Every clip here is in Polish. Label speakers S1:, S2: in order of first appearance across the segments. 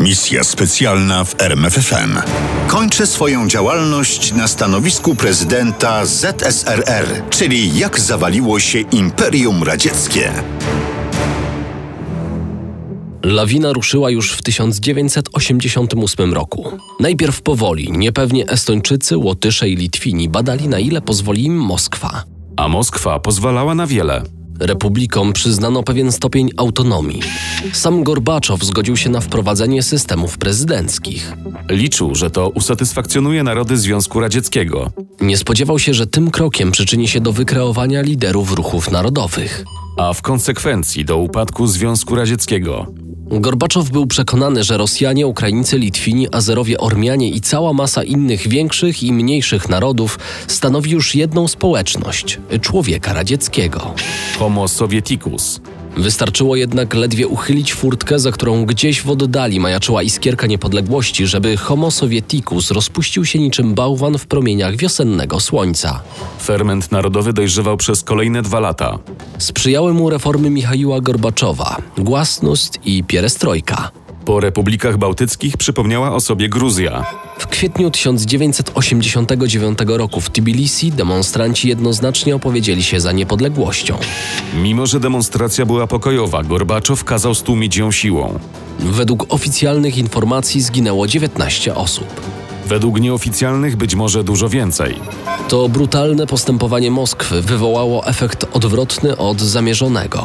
S1: Misja specjalna w RMFFM. Kończę swoją działalność na stanowisku prezydenta ZSRR, czyli jak zawaliło się Imperium Radzieckie.
S2: Lawina ruszyła już w 1988 roku. Najpierw powoli, niepewnie Estończycy, Łotysze i Litwini badali, na ile pozwoli im Moskwa.
S3: A Moskwa pozwalała na wiele.
S2: Republikom przyznano pewien stopień autonomii. Sam Gorbaczow zgodził się na wprowadzenie systemów prezydenckich.
S3: Liczył, że to usatysfakcjonuje narody Związku Radzieckiego.
S2: Nie spodziewał się, że tym krokiem przyczyni się do wykreowania liderów ruchów narodowych.
S3: A w konsekwencji do upadku Związku Radzieckiego.
S2: Gorbaczow był przekonany, że Rosjanie, Ukraińcy, Litwini, Azerowie, Ormianie i cała masa innych większych i mniejszych narodów stanowi już jedną społeczność człowieka radzieckiego.
S3: Homo Sovieticus.
S2: Wystarczyło jednak ledwie uchylić furtkę, za którą gdzieś w oddali majaczyła iskierka niepodległości, żeby Homo Sovieticus rozpuścił się niczym bałwan w promieniach wiosennego słońca.
S3: Ferment narodowy dojrzewał przez kolejne dwa lata.
S2: Sprzyjały mu reformy Michaiła Gorbaczowa, głasnost i pierestrojka.
S3: Po republikach bałtyckich przypomniała o sobie Gruzja.
S2: W kwietniu 1989 roku w Tbilisi demonstranci jednoznacznie opowiedzieli się za niepodległością.
S3: Mimo, że demonstracja była pokojowa, Gorbaczow kazał stłumić ją siłą.
S2: Według oficjalnych informacji zginęło 19 osób.
S3: Według nieoficjalnych być może dużo więcej.
S2: To brutalne postępowanie Moskwy wywołało efekt odwrotny od zamierzonego,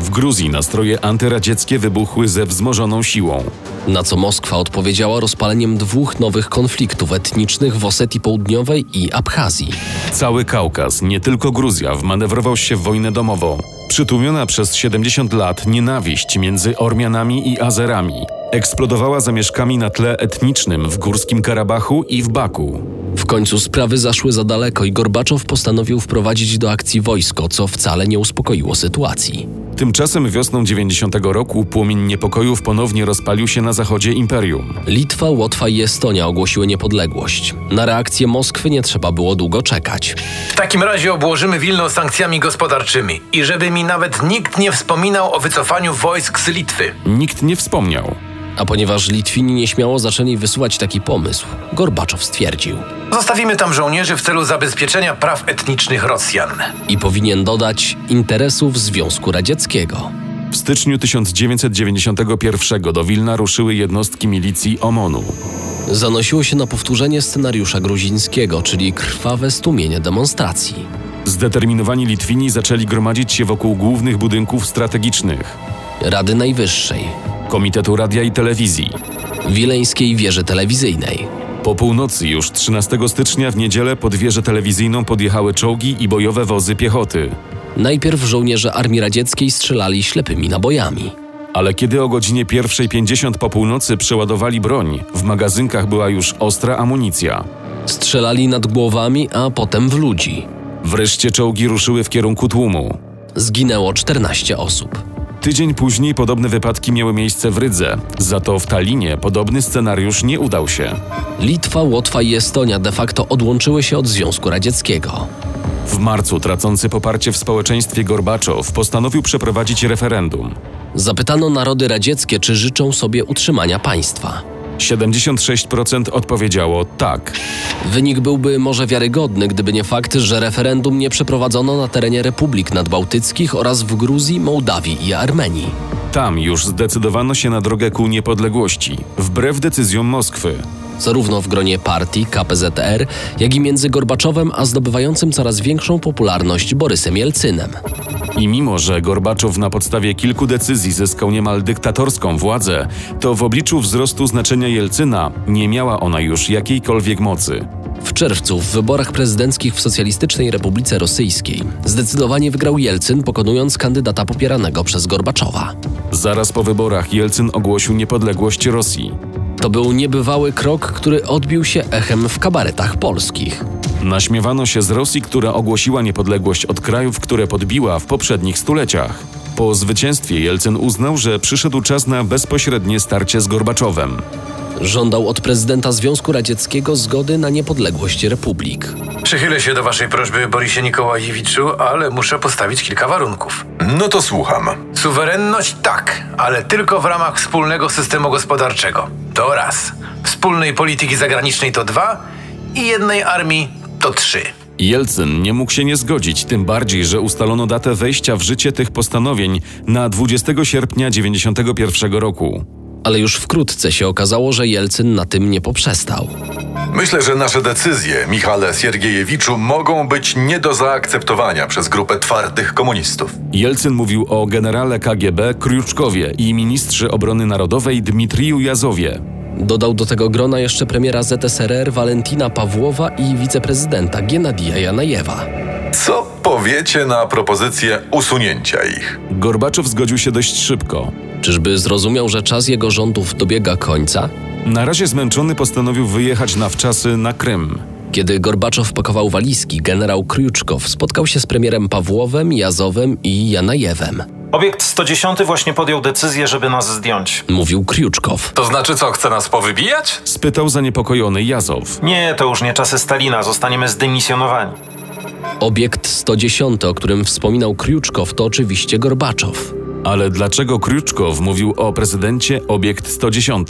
S3: W Gruzji nastroje antyradzieckie wybuchły ze wzmożoną siłą.
S2: na co Moskwa odpowiedziała rozpaleniem dwóch nowych konfliktów etnicznych w Osetii Południowej i Abchazji.
S3: Cały Kaukaz, nie tylko Gruzja, wmanewrował się w wojnę domową. Przytłumiona przez 70 lat nienawiść między Ormianami i Azerami eksplodowała zamieszkami na tle etnicznym w Górskim Karabachu i w Baku.
S2: W końcu sprawy zaszły za daleko i Gorbaczow postanowił wprowadzić do akcji wojsko, co wcale nie uspokoiło sytuacji.
S3: Tymczasem wiosną 90 roku płomień niepokojów ponownie rozpalił się na zachodzie imperium.
S2: Litwa, Łotwa i Estonia ogłosiły niepodległość. Na reakcję Moskwy nie trzeba było długo czekać.
S4: W takim razie obłożymy Wilno sankcjami gospodarczymi i żeby mi nawet nikt nie wspominał o wycofaniu wojsk z Litwy.
S3: Nikt nie wspomniał.
S2: A ponieważ Litwini nieśmiało zaczęli wysyłać taki pomysł, Gorbaczow stwierdził
S4: Zostawimy tam żołnierzy w celu zabezpieczenia praw etnicznych Rosjan.
S2: i powinien dodać interesów Związku Radzieckiego.
S3: W styczniu 1991 do Wilna ruszyły jednostki milicji OMONu.
S2: Zanosiło się na powtórzenie scenariusza gruzińskiego, czyli krwawe stłumienie demonstracji.
S3: Zdeterminowani Litwini zaczęli gromadzić się wokół głównych budynków strategicznych
S2: Rady Najwyższej,
S3: Komitetu Radia i Telewizji.
S2: Wileńskiej Wieży Telewizyjnej,
S3: Po północy już 13 stycznia w niedzielę pod wieżę telewizyjną podjechały czołgi i bojowe wozy piechoty.
S2: Najpierw żołnierze Armii Radzieckiej strzelali ślepymi nabojami.
S3: Ale kiedy o godzinie 1.50 po północy przeładowali broń, w magazynkach była już ostra amunicja.
S2: Strzelali nad głowami, a potem w ludzi.
S3: Wreszcie czołgi ruszyły w kierunku tłumu.
S2: Zginęło 14 osób.
S3: Tydzień później podobne wypadki miały miejsce w Rydze, za to w Talinie podobny scenariusz nie udał się.
S2: Litwa, Łotwa i Estonia de facto odłączyły się od Związku Radzieckiego.
S3: W marcu tracący poparcie w społeczeństwie Gorbaczow postanowił przeprowadzić referendum.
S2: Zapytano narody radzieckie, czy życzą sobie utrzymania państwa.
S3: 76% odpowiedziało tak.
S2: Wynik byłby może wiarygodny, gdyby nie fakt, że referendum nie przeprowadzono na terenie republik nadbałtyckich oraz w Gruzji, Mołdawii i Armenii.
S3: Tam już zdecydowano się na drogę ku niepodległości, wbrew decyzjom Moskwy.
S2: zarówno w gronie partii KPZR, jak i między Gorbaczowem a zdobywającym coraz większą popularność Borysem Jelcynem.
S3: I mimo, że Gorbaczow na podstawie kilku decyzji zyskał niemal dyktatorską władzę, to w obliczu wzrostu znaczenia Jelcyna nie miała ona już jakiejkolwiek mocy.
S2: W czerwcu w wyborach prezydenckich w Socjalistycznej Republice Rosyjskiej zdecydowanie wygrał Jelcyn, pokonując kandydata popieranego przez Gorbaczowa.
S3: Zaraz po wyborach Jelcyn ogłosił niepodległość Rosji.
S2: To był niebywały krok, który odbił się echem w kabaretach polskich.
S3: Naśmiewano się z Rosji, która ogłosiła niepodległość od krajów, które podbiła w poprzednich stuleciach. Po zwycięstwie Jelcyn uznał, że przyszedł czas na bezpośrednie starcie z Gorbaczowem.
S2: Żądał od prezydenta Związku Radzieckiego zgody na niepodległość republik.
S4: Przychylę się do waszej prośby, Borisie Nikołajewiczu, ale muszę postawić kilka warunków.
S5: No to słucham.
S4: Suwerenność tak, ale tylko w ramach wspólnego systemu gospodarczego. To raz. Wspólnej polityki zagranicznej to dwa i jednej armii to trzy.
S3: Jelcyn nie mógł się nie zgodzić, tym bardziej, że ustalono datę wejścia w życie tych postanowień na 20 sierpnia 91 roku.
S2: Ale już wkrótce się okazało, że Jelcyn na tym nie poprzestał.
S5: Myślę, że nasze decyzje, Michale Siergiejewiczu, mogą być nie do zaakceptowania przez grupę twardych komunistów.
S3: Jelcyn mówił o generale KGB Kriuczkowie i ministrze obrony narodowej Dmitriju Jazowie.
S2: Dodał do tego grona jeszcze premiera ZSRR Walentina Pawłowa i wiceprezydenta Giennadija Janajewa.
S5: Co powiecie na propozycję usunięcia ich?
S3: Gorbaczow zgodził się dość szybko.
S2: Czyżby zrozumiał, że czas jego rządów dobiega końca?
S3: Na razie zmęczony postanowił wyjechać na wczasy na Krym.
S2: Kiedy Gorbaczow pakował walizki, generał Kriuczkow spotkał się z premierem Pawłowem, Jazowem i Janajewem.
S6: Obiekt 110 właśnie podjął decyzję, żeby nas zdjąć.
S2: Mówił Kriuczkow.
S7: To znaczy co, chce nas powybijać?
S3: Spytał zaniepokojony Jazow.
S6: Nie, to już nie czasy Stalina, zostaniemy zdymisjonowani.
S2: Obiekt 110, o którym wspominał Kriuczkow, to oczywiście Gorbaczow.
S3: Ale dlaczego Kriuczkow mówił o prezydencie obiekt 110?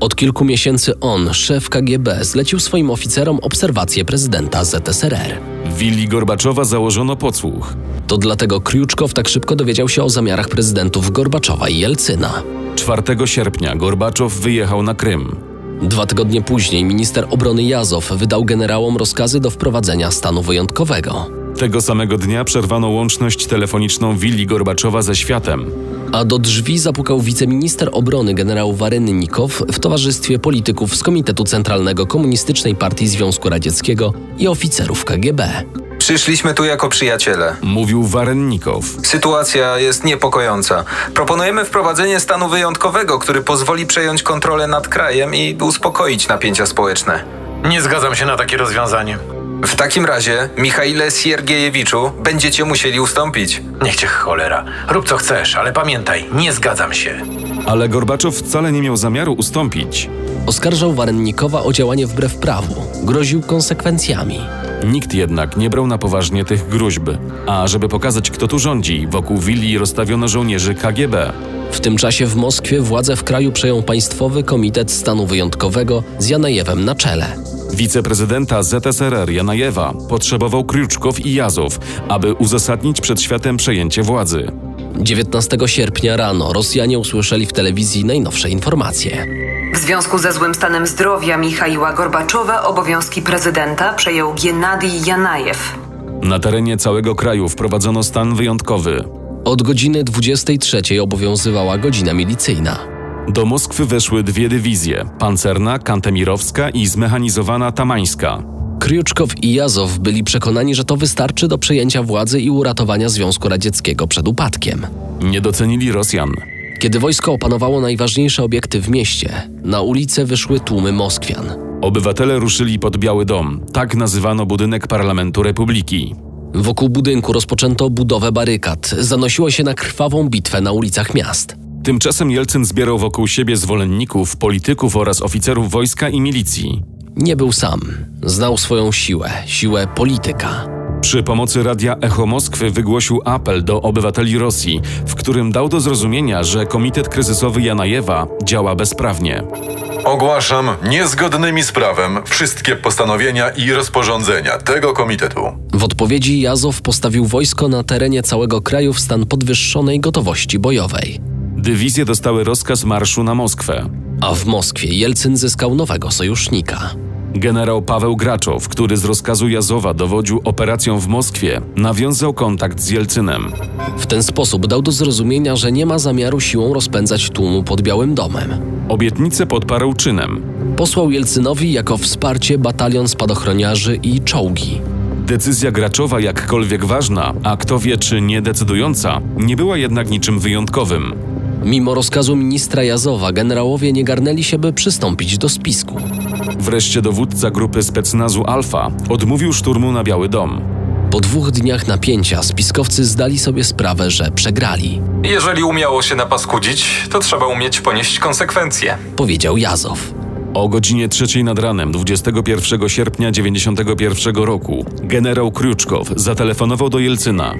S2: Od kilku miesięcy on, szef KGB, zlecił swoim oficerom obserwację prezydenta ZSRR.
S3: W willi Gorbaczowa założono podsłuch.
S2: To dlatego Kriuczkow tak szybko dowiedział się o zamiarach prezydentów Gorbaczowa i Jelcyna.
S3: 4 sierpnia Gorbaczow wyjechał na Krym.
S2: Dwa tygodnie później minister obrony Jazow wydał generałom rozkazy do wprowadzenia stanu wyjątkowego.
S3: Tego samego dnia przerwano łączność telefoniczną willi Gorbaczowa ze światem.
S2: A do drzwi zapukał wiceminister obrony generał Warynnikow w towarzystwie polityków z Komitetu Centralnego Komunistycznej Partii Związku Radzieckiego i oficerów KGB.
S7: Przyszliśmy tu jako przyjaciele.
S3: Mówił Warennikow.
S7: Sytuacja jest niepokojąca. Proponujemy wprowadzenie stanu wyjątkowego, który pozwoli przejąć kontrolę nad krajem i uspokoić napięcia społeczne.
S4: Nie zgadzam się na takie rozwiązanie.
S7: W takim razie, Michaile Siergiejewiczu, będziecie musieli ustąpić.
S4: Niech cię cholera. Rób co chcesz, ale pamiętaj, nie zgadzam się.
S3: Ale Gorbaczow wcale nie miał zamiaru ustąpić.
S2: Oskarżał Warennikowa o działanie wbrew prawu, groził konsekwencjami.
S3: Nikt jednak nie brał na poważnie tych groźb. A żeby pokazać, kto tu rządzi, wokół willi rozstawiono żołnierzy KGB.
S2: W tym czasie w Moskwie władzę w kraju przejął Państwowy Komitet Stanu Wyjątkowego z Janajewem na czele.
S3: Wiceprezydenta ZSRR Janajewa potrzebował Kriuczkow i Jazow, aby uzasadnić przed światem przejęcie władzy.
S2: 19 sierpnia rano Rosjanie usłyszeli w telewizji najnowsze informacje.
S8: W związku ze złym stanem zdrowia Michaiła Gorbaczowa obowiązki prezydenta przejął Giennadij Janajew.
S3: Na terenie całego kraju wprowadzono stan wyjątkowy.
S2: Od godziny 23 obowiązywała godzina milicyjna.
S3: Do Moskwy weszły dwie dywizje: pancerna, kantemirowska i zmechanizowana tamańska.
S2: Kriuczkow i Jazow byli przekonani, że to wystarczy do przejęcia władzy i uratowania Związku Radzieckiego przed upadkiem.
S3: Nie docenili Rosjan.
S2: Kiedy wojsko opanowało najważniejsze obiekty w mieście, na ulice wyszły tłumy Moskwian.
S3: Obywatele ruszyli pod Biały Dom. Tak nazywano budynek parlamentu republiki.
S2: Wokół budynku rozpoczęto budowę barykad, zanosiło się na krwawą bitwę na ulicach miast.
S3: Tymczasem Jelcyn zbierał wokół siebie zwolenników, polityków oraz oficerów wojska i milicji.
S2: Nie był sam, znał swoją siłę, siłę polityka.
S3: Przy pomocy radia Echo Moskwy wygłosił apel do obywateli Rosji, w którym dał do zrozumienia, że Komitet Kryzysowy Janajewa działa bezprawnie.
S5: Ogłaszam niezgodnymi z prawem wszystkie postanowienia i rozporządzenia tego komitetu.
S2: W odpowiedzi Jazow postawił wojsko na terenie całego kraju w stan podwyższonej gotowości bojowej.
S3: Dywizje dostały rozkaz marszu na Moskwę.
S2: A w Moskwie Jelcyn zyskał nowego sojusznika.
S3: Generał Paweł Graczow, który z rozkazu Jazowa dowodził operacją w Moskwie, nawiązał kontakt z Jelcynem.
S2: W ten sposób dał do zrozumienia, że nie ma zamiaru siłą rozpędzać tłumu pod Białym Domem.
S3: Obietnicę podparł czynem.
S2: Posłał Jelcynowi jako wsparcie batalion spadochroniarzy i czołgi.
S3: Decyzja Graczowa, jakkolwiek ważna, a kto wie czy niedecydująca, nie była jednak niczym wyjątkowym.
S2: Mimo rozkazu ministra Jazowa, generałowie nie garnęli się, by przystąpić do spisku.
S3: Wreszcie dowódca grupy specnazu Alfa odmówił szturmu na Biały Dom.
S2: Po dwóch dniach napięcia spiskowcy zdali sobie sprawę, że przegrali,
S7: Jeżeli umiało się napaskudzić, to trzeba umieć ponieść konsekwencje.
S2: powiedział Jazow.
S3: O godzinie 3 nad ranem 21 sierpnia 91 roku generał Kruczkow zatelefonował do Jelcyna.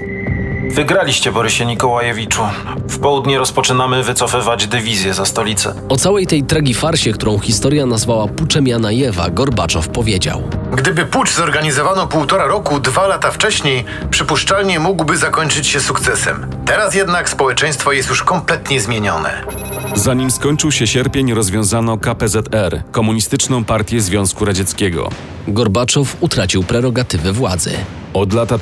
S6: Wygraliście, Borysie Nikołajewiczu. W południe rozpoczynamy wycofywać dywizję za stolicę.
S2: O całej tej tragifarsie, którą historia nazwała puczem Janajewa, Gorbaczow powiedział.
S4: Gdyby pucz zorganizowano półtora roku, dwa lata wcześniej, przypuszczalnie mógłby zakończyć się sukcesem. Teraz jednak społeczeństwo jest już kompletnie zmienione.
S3: Zanim skończył się sierpień, rozwiązano KPZR, Komunistyczną Partię Związku Radzieckiego.
S2: Gorbaczow utracił prerogatywy władzy.
S3: Od lata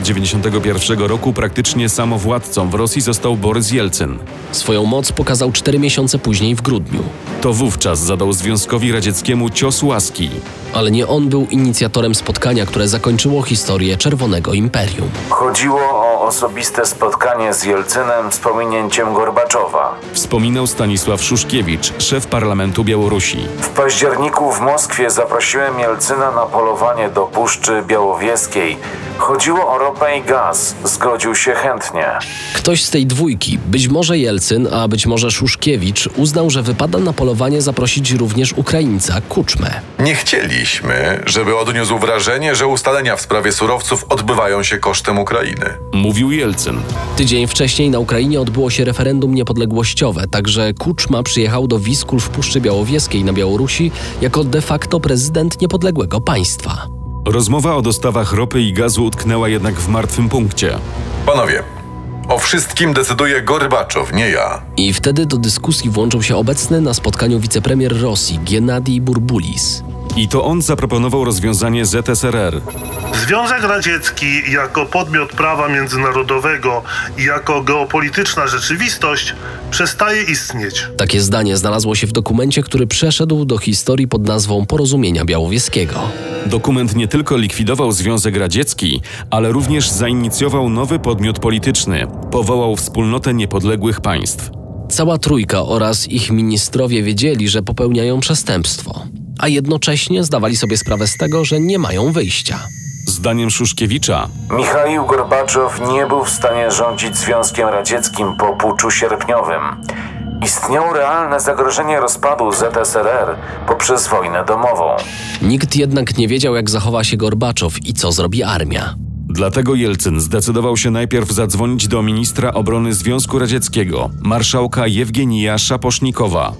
S3: 1991 roku praktycznie samowładcą w Rosji został Borys Jelcyn.
S2: Swoją moc pokazał cztery miesiące później w grudniu.
S3: To wówczas zadał Związkowi Radzieckiemu cios łaski.
S2: Ale nie on był inicjatorem spotkania, które zakończyło historię Czerwonego Imperium.
S9: Chodziło o osobiste spotkanie z Jelcynem z pominięciem Gorbaczowa.
S3: Wspominał Stanisław Szuszkiewicz, szef parlamentu Białorusi.
S9: W październiku w Moskwie zaprosiłem Jelcyna na polowanie do Puszczy Białowieskiej. Chodziło o ropę i gaz. Zgodził się chętnie.
S2: Ktoś z tej dwójki, być może Jelcyn, a być może Szuszkiewicz, uznał, że wypada na polowanie zaprosić również Ukraińca Kuczmę.
S5: Nie chcieliśmy, żeby odniósł wrażenie, że ustalenia w sprawie surowców odbywają się kosztem Ukrainy.
S3: Mówił Jelcyn.
S2: Tydzień wcześniej na Ukrainie odbyło się referendum niepodległościowe, także Kuczma przyjechał do Wiskul w Puszczy Białowieskiej na Białorusi jako de facto prezydent niepodległego państwa.
S3: Rozmowa o dostawach ropy i gazu utknęła jednak w martwym punkcie.
S5: Panowie, o wszystkim decyduje Gorbaczow, nie ja.
S2: I wtedy do dyskusji włączył się obecny na spotkaniu wicepremier Rosji Gennadij Burbulis.
S3: I to on zaproponował rozwiązanie ZSRR.
S10: Związek Radziecki jako podmiot prawa międzynarodowego i jako geopolityczna rzeczywistość przestaje istnieć.
S2: Takie zdanie znalazło się w dokumencie, który przeszedł do historii pod nazwą Porozumienia Białowieskiego.
S3: Dokument nie tylko likwidował Związek Radziecki, ale również zainicjował nowy podmiot polityczny. Powołał Wspólnotę Niepodległych Państw.
S2: Cała trójka oraz ich ministrowie wiedzieli, że popełniają przestępstwo, a jednocześnie zdawali sobie sprawę z tego, że nie mają wyjścia.
S3: Zdaniem Szuszkiewicza
S9: Michaił Gorbaczow nie był w stanie rządzić Związkiem Radzieckim po puczu sierpniowym. Istniało realne zagrożenie rozpadu ZSRR poprzez wojnę domową.
S2: Nikt jednak nie wiedział, jak zachowa się Gorbaczow i co zrobi armia.
S3: Dlatego Jelcyn zdecydował się najpierw zadzwonić do ministra obrony Związku Radzieckiego, marszałka Jewgenija Szaposznikowa.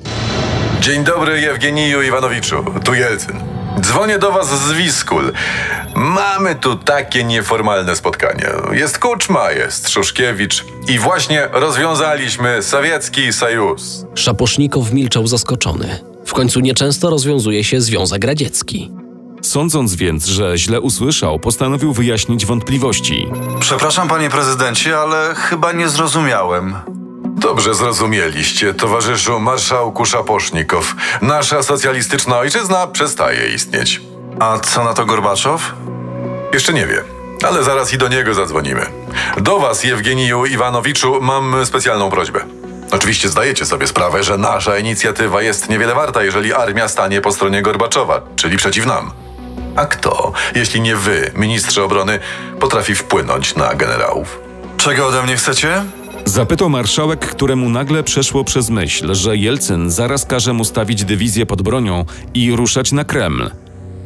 S5: Dzień dobry, Jewgeniju Iwanowiczu. Tu Jelcyn. Dzwonię do was z Wiskul. Mamy tu takie nieformalne spotkanie. Jest Kuczma, jest Szuszkiewicz i właśnie rozwiązaliśmy sowiecki sojusz.
S2: Szaposznikow milczał zaskoczony. W końcu nieczęsto rozwiązuje się Związek Radziecki.
S3: Sądząc więc, że źle usłyszał, postanowił wyjaśnić wątpliwości.
S11: Przepraszam, panie prezydencie, ale chyba nie zrozumiałem.
S5: Dobrze zrozumieliście, towarzyszu marszałku Szaposznikow. Nasza socjalistyczna ojczyzna przestaje istnieć.
S11: A co na to Gorbaczow?
S5: Jeszcze nie wie, ale zaraz i do niego zadzwonimy. Do was, Jewgeniju Iwanowiczu, mam specjalną prośbę. Oczywiście zdajecie sobie sprawę, że nasza inicjatywa jest niewiele warta, jeżeli armia stanie po stronie Gorbaczowa, czyli przeciw nam. A kto, jeśli nie wy, ministrze obrony, potrafi wpłynąć na generałów?
S11: Czego ode mnie chcecie?
S3: Zapytał marszałek, któremu nagle przeszło przez myśl, że Jelcyn zaraz każe mu stawić dywizję pod bronią i ruszać na Kreml.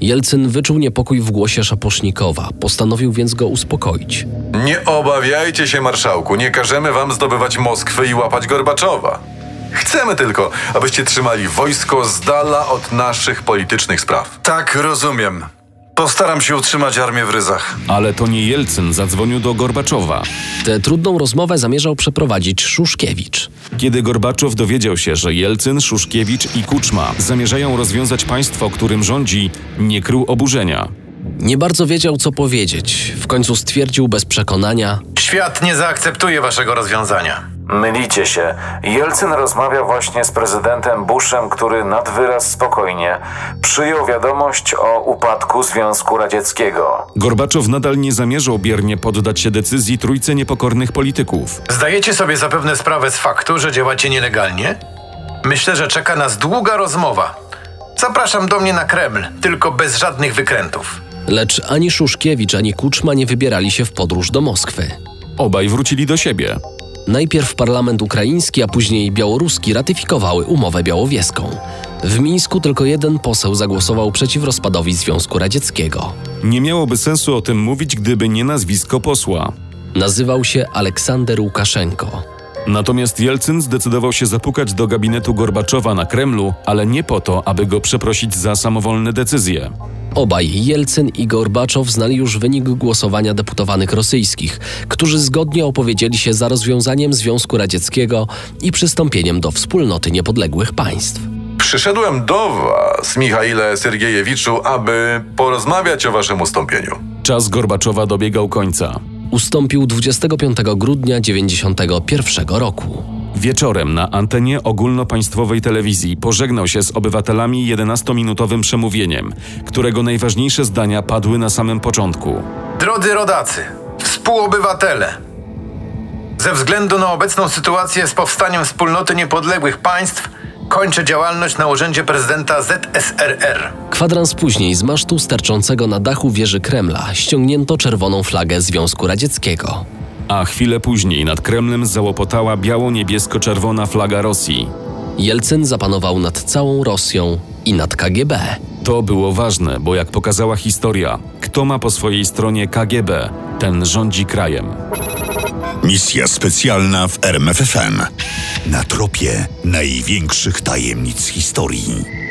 S2: Jelcyn wyczuł niepokój w głosie Szaposznikowa, postanowił więc go uspokoić.
S5: Nie obawiajcie się, marszałku, nie każemy wam zdobywać Moskwy i łapać Gorbaczowa. Chcemy tylko, abyście trzymali wojsko z dala od naszych politycznych spraw.
S11: Tak, rozumiem. Postaram się utrzymać armię w ryzach.
S3: Ale to nie Jelcyn zadzwonił do Gorbaczowa.
S2: Tę trudną rozmowę zamierzał przeprowadzić Szuszkiewicz.
S3: Kiedy Gorbaczow dowiedział się, że Jelcyn, Szuszkiewicz i Kuczma zamierzają rozwiązać państwo, którym rządzi, nie krył oburzenia.
S2: Nie bardzo wiedział, co powiedzieć. W końcu stwierdził bez przekonania:
S4: Świat nie zaakceptuje waszego rozwiązania.
S9: Mylicie się. Jelcyn rozmawiał właśnie z prezydentem Bushem, który nad wyraz spokojnie przyjął wiadomość o upadku Związku Radzieckiego.
S3: Gorbaczow nadal nie zamierzał biernie poddać się decyzji trójcy niepokornych polityków.
S4: Zdajecie sobie zapewne sprawę z faktu, że działacie nielegalnie? Myślę, że czeka nas długa rozmowa. Zapraszam do mnie na Kreml, tylko bez żadnych wykrętów.
S2: Lecz ani Szuszkiewicz, ani Kuczma nie wybierali się w podróż do Moskwy.
S3: Obaj wrócili do siebie.
S2: Najpierw parlament ukraiński, a później białoruski ratyfikowały umowę białowieską. W Mińsku tylko jeden poseł zagłosował przeciw rozpadowi Związku Radzieckiego.
S3: Nie miałoby sensu o tym mówić, gdyby nie nazwisko posła.
S2: Nazywał się Aleksander Łukaszenko.
S3: Natomiast Jelcyn zdecydował się zapukać do gabinetu Gorbaczowa na Kremlu, ale nie po to, aby go przeprosić za samowolne decyzje.
S2: Obaj Jelcyn i Gorbaczow znali już wynik głosowania deputowanych rosyjskich, którzy zgodnie opowiedzieli się za rozwiązaniem Związku Radzieckiego i przystąpieniem do wspólnoty niepodległych państw.
S5: Przyszedłem do was, Michaile Sergiejewiczu, aby porozmawiać o waszym ustąpieniu.
S3: Czas Gorbaczowa dobiegał końca.
S2: Ustąpił 25 grudnia 1991 roku.
S3: Wieczorem na antenie ogólnopaństwowej telewizji pożegnał się z obywatelami 11-minutowym przemówieniem, którego najważniejsze zdania padły na samym początku.
S4: Drodzy rodacy, współobywatele, ze względu na obecną sytuację z powstaniem Wspólnoty Niepodległych Państw kończę działalność na urzędzie prezydenta ZSRR.
S2: Kwadrans później z masztu sterczącego na dachu wieży Kremla ściągnięto czerwoną flagę Związku Radzieckiego.
S3: A chwilę później nad Kremlem załopotała biało-niebiesko-czerwona flaga Rosji.
S2: Jelcyn zapanował nad całą Rosją i nad KGB.
S3: To było ważne, bo jak pokazała historia, kto ma po swojej stronie KGB, ten rządzi krajem.
S1: Misja specjalna w RMFFM. Na tropie największych tajemnic historii.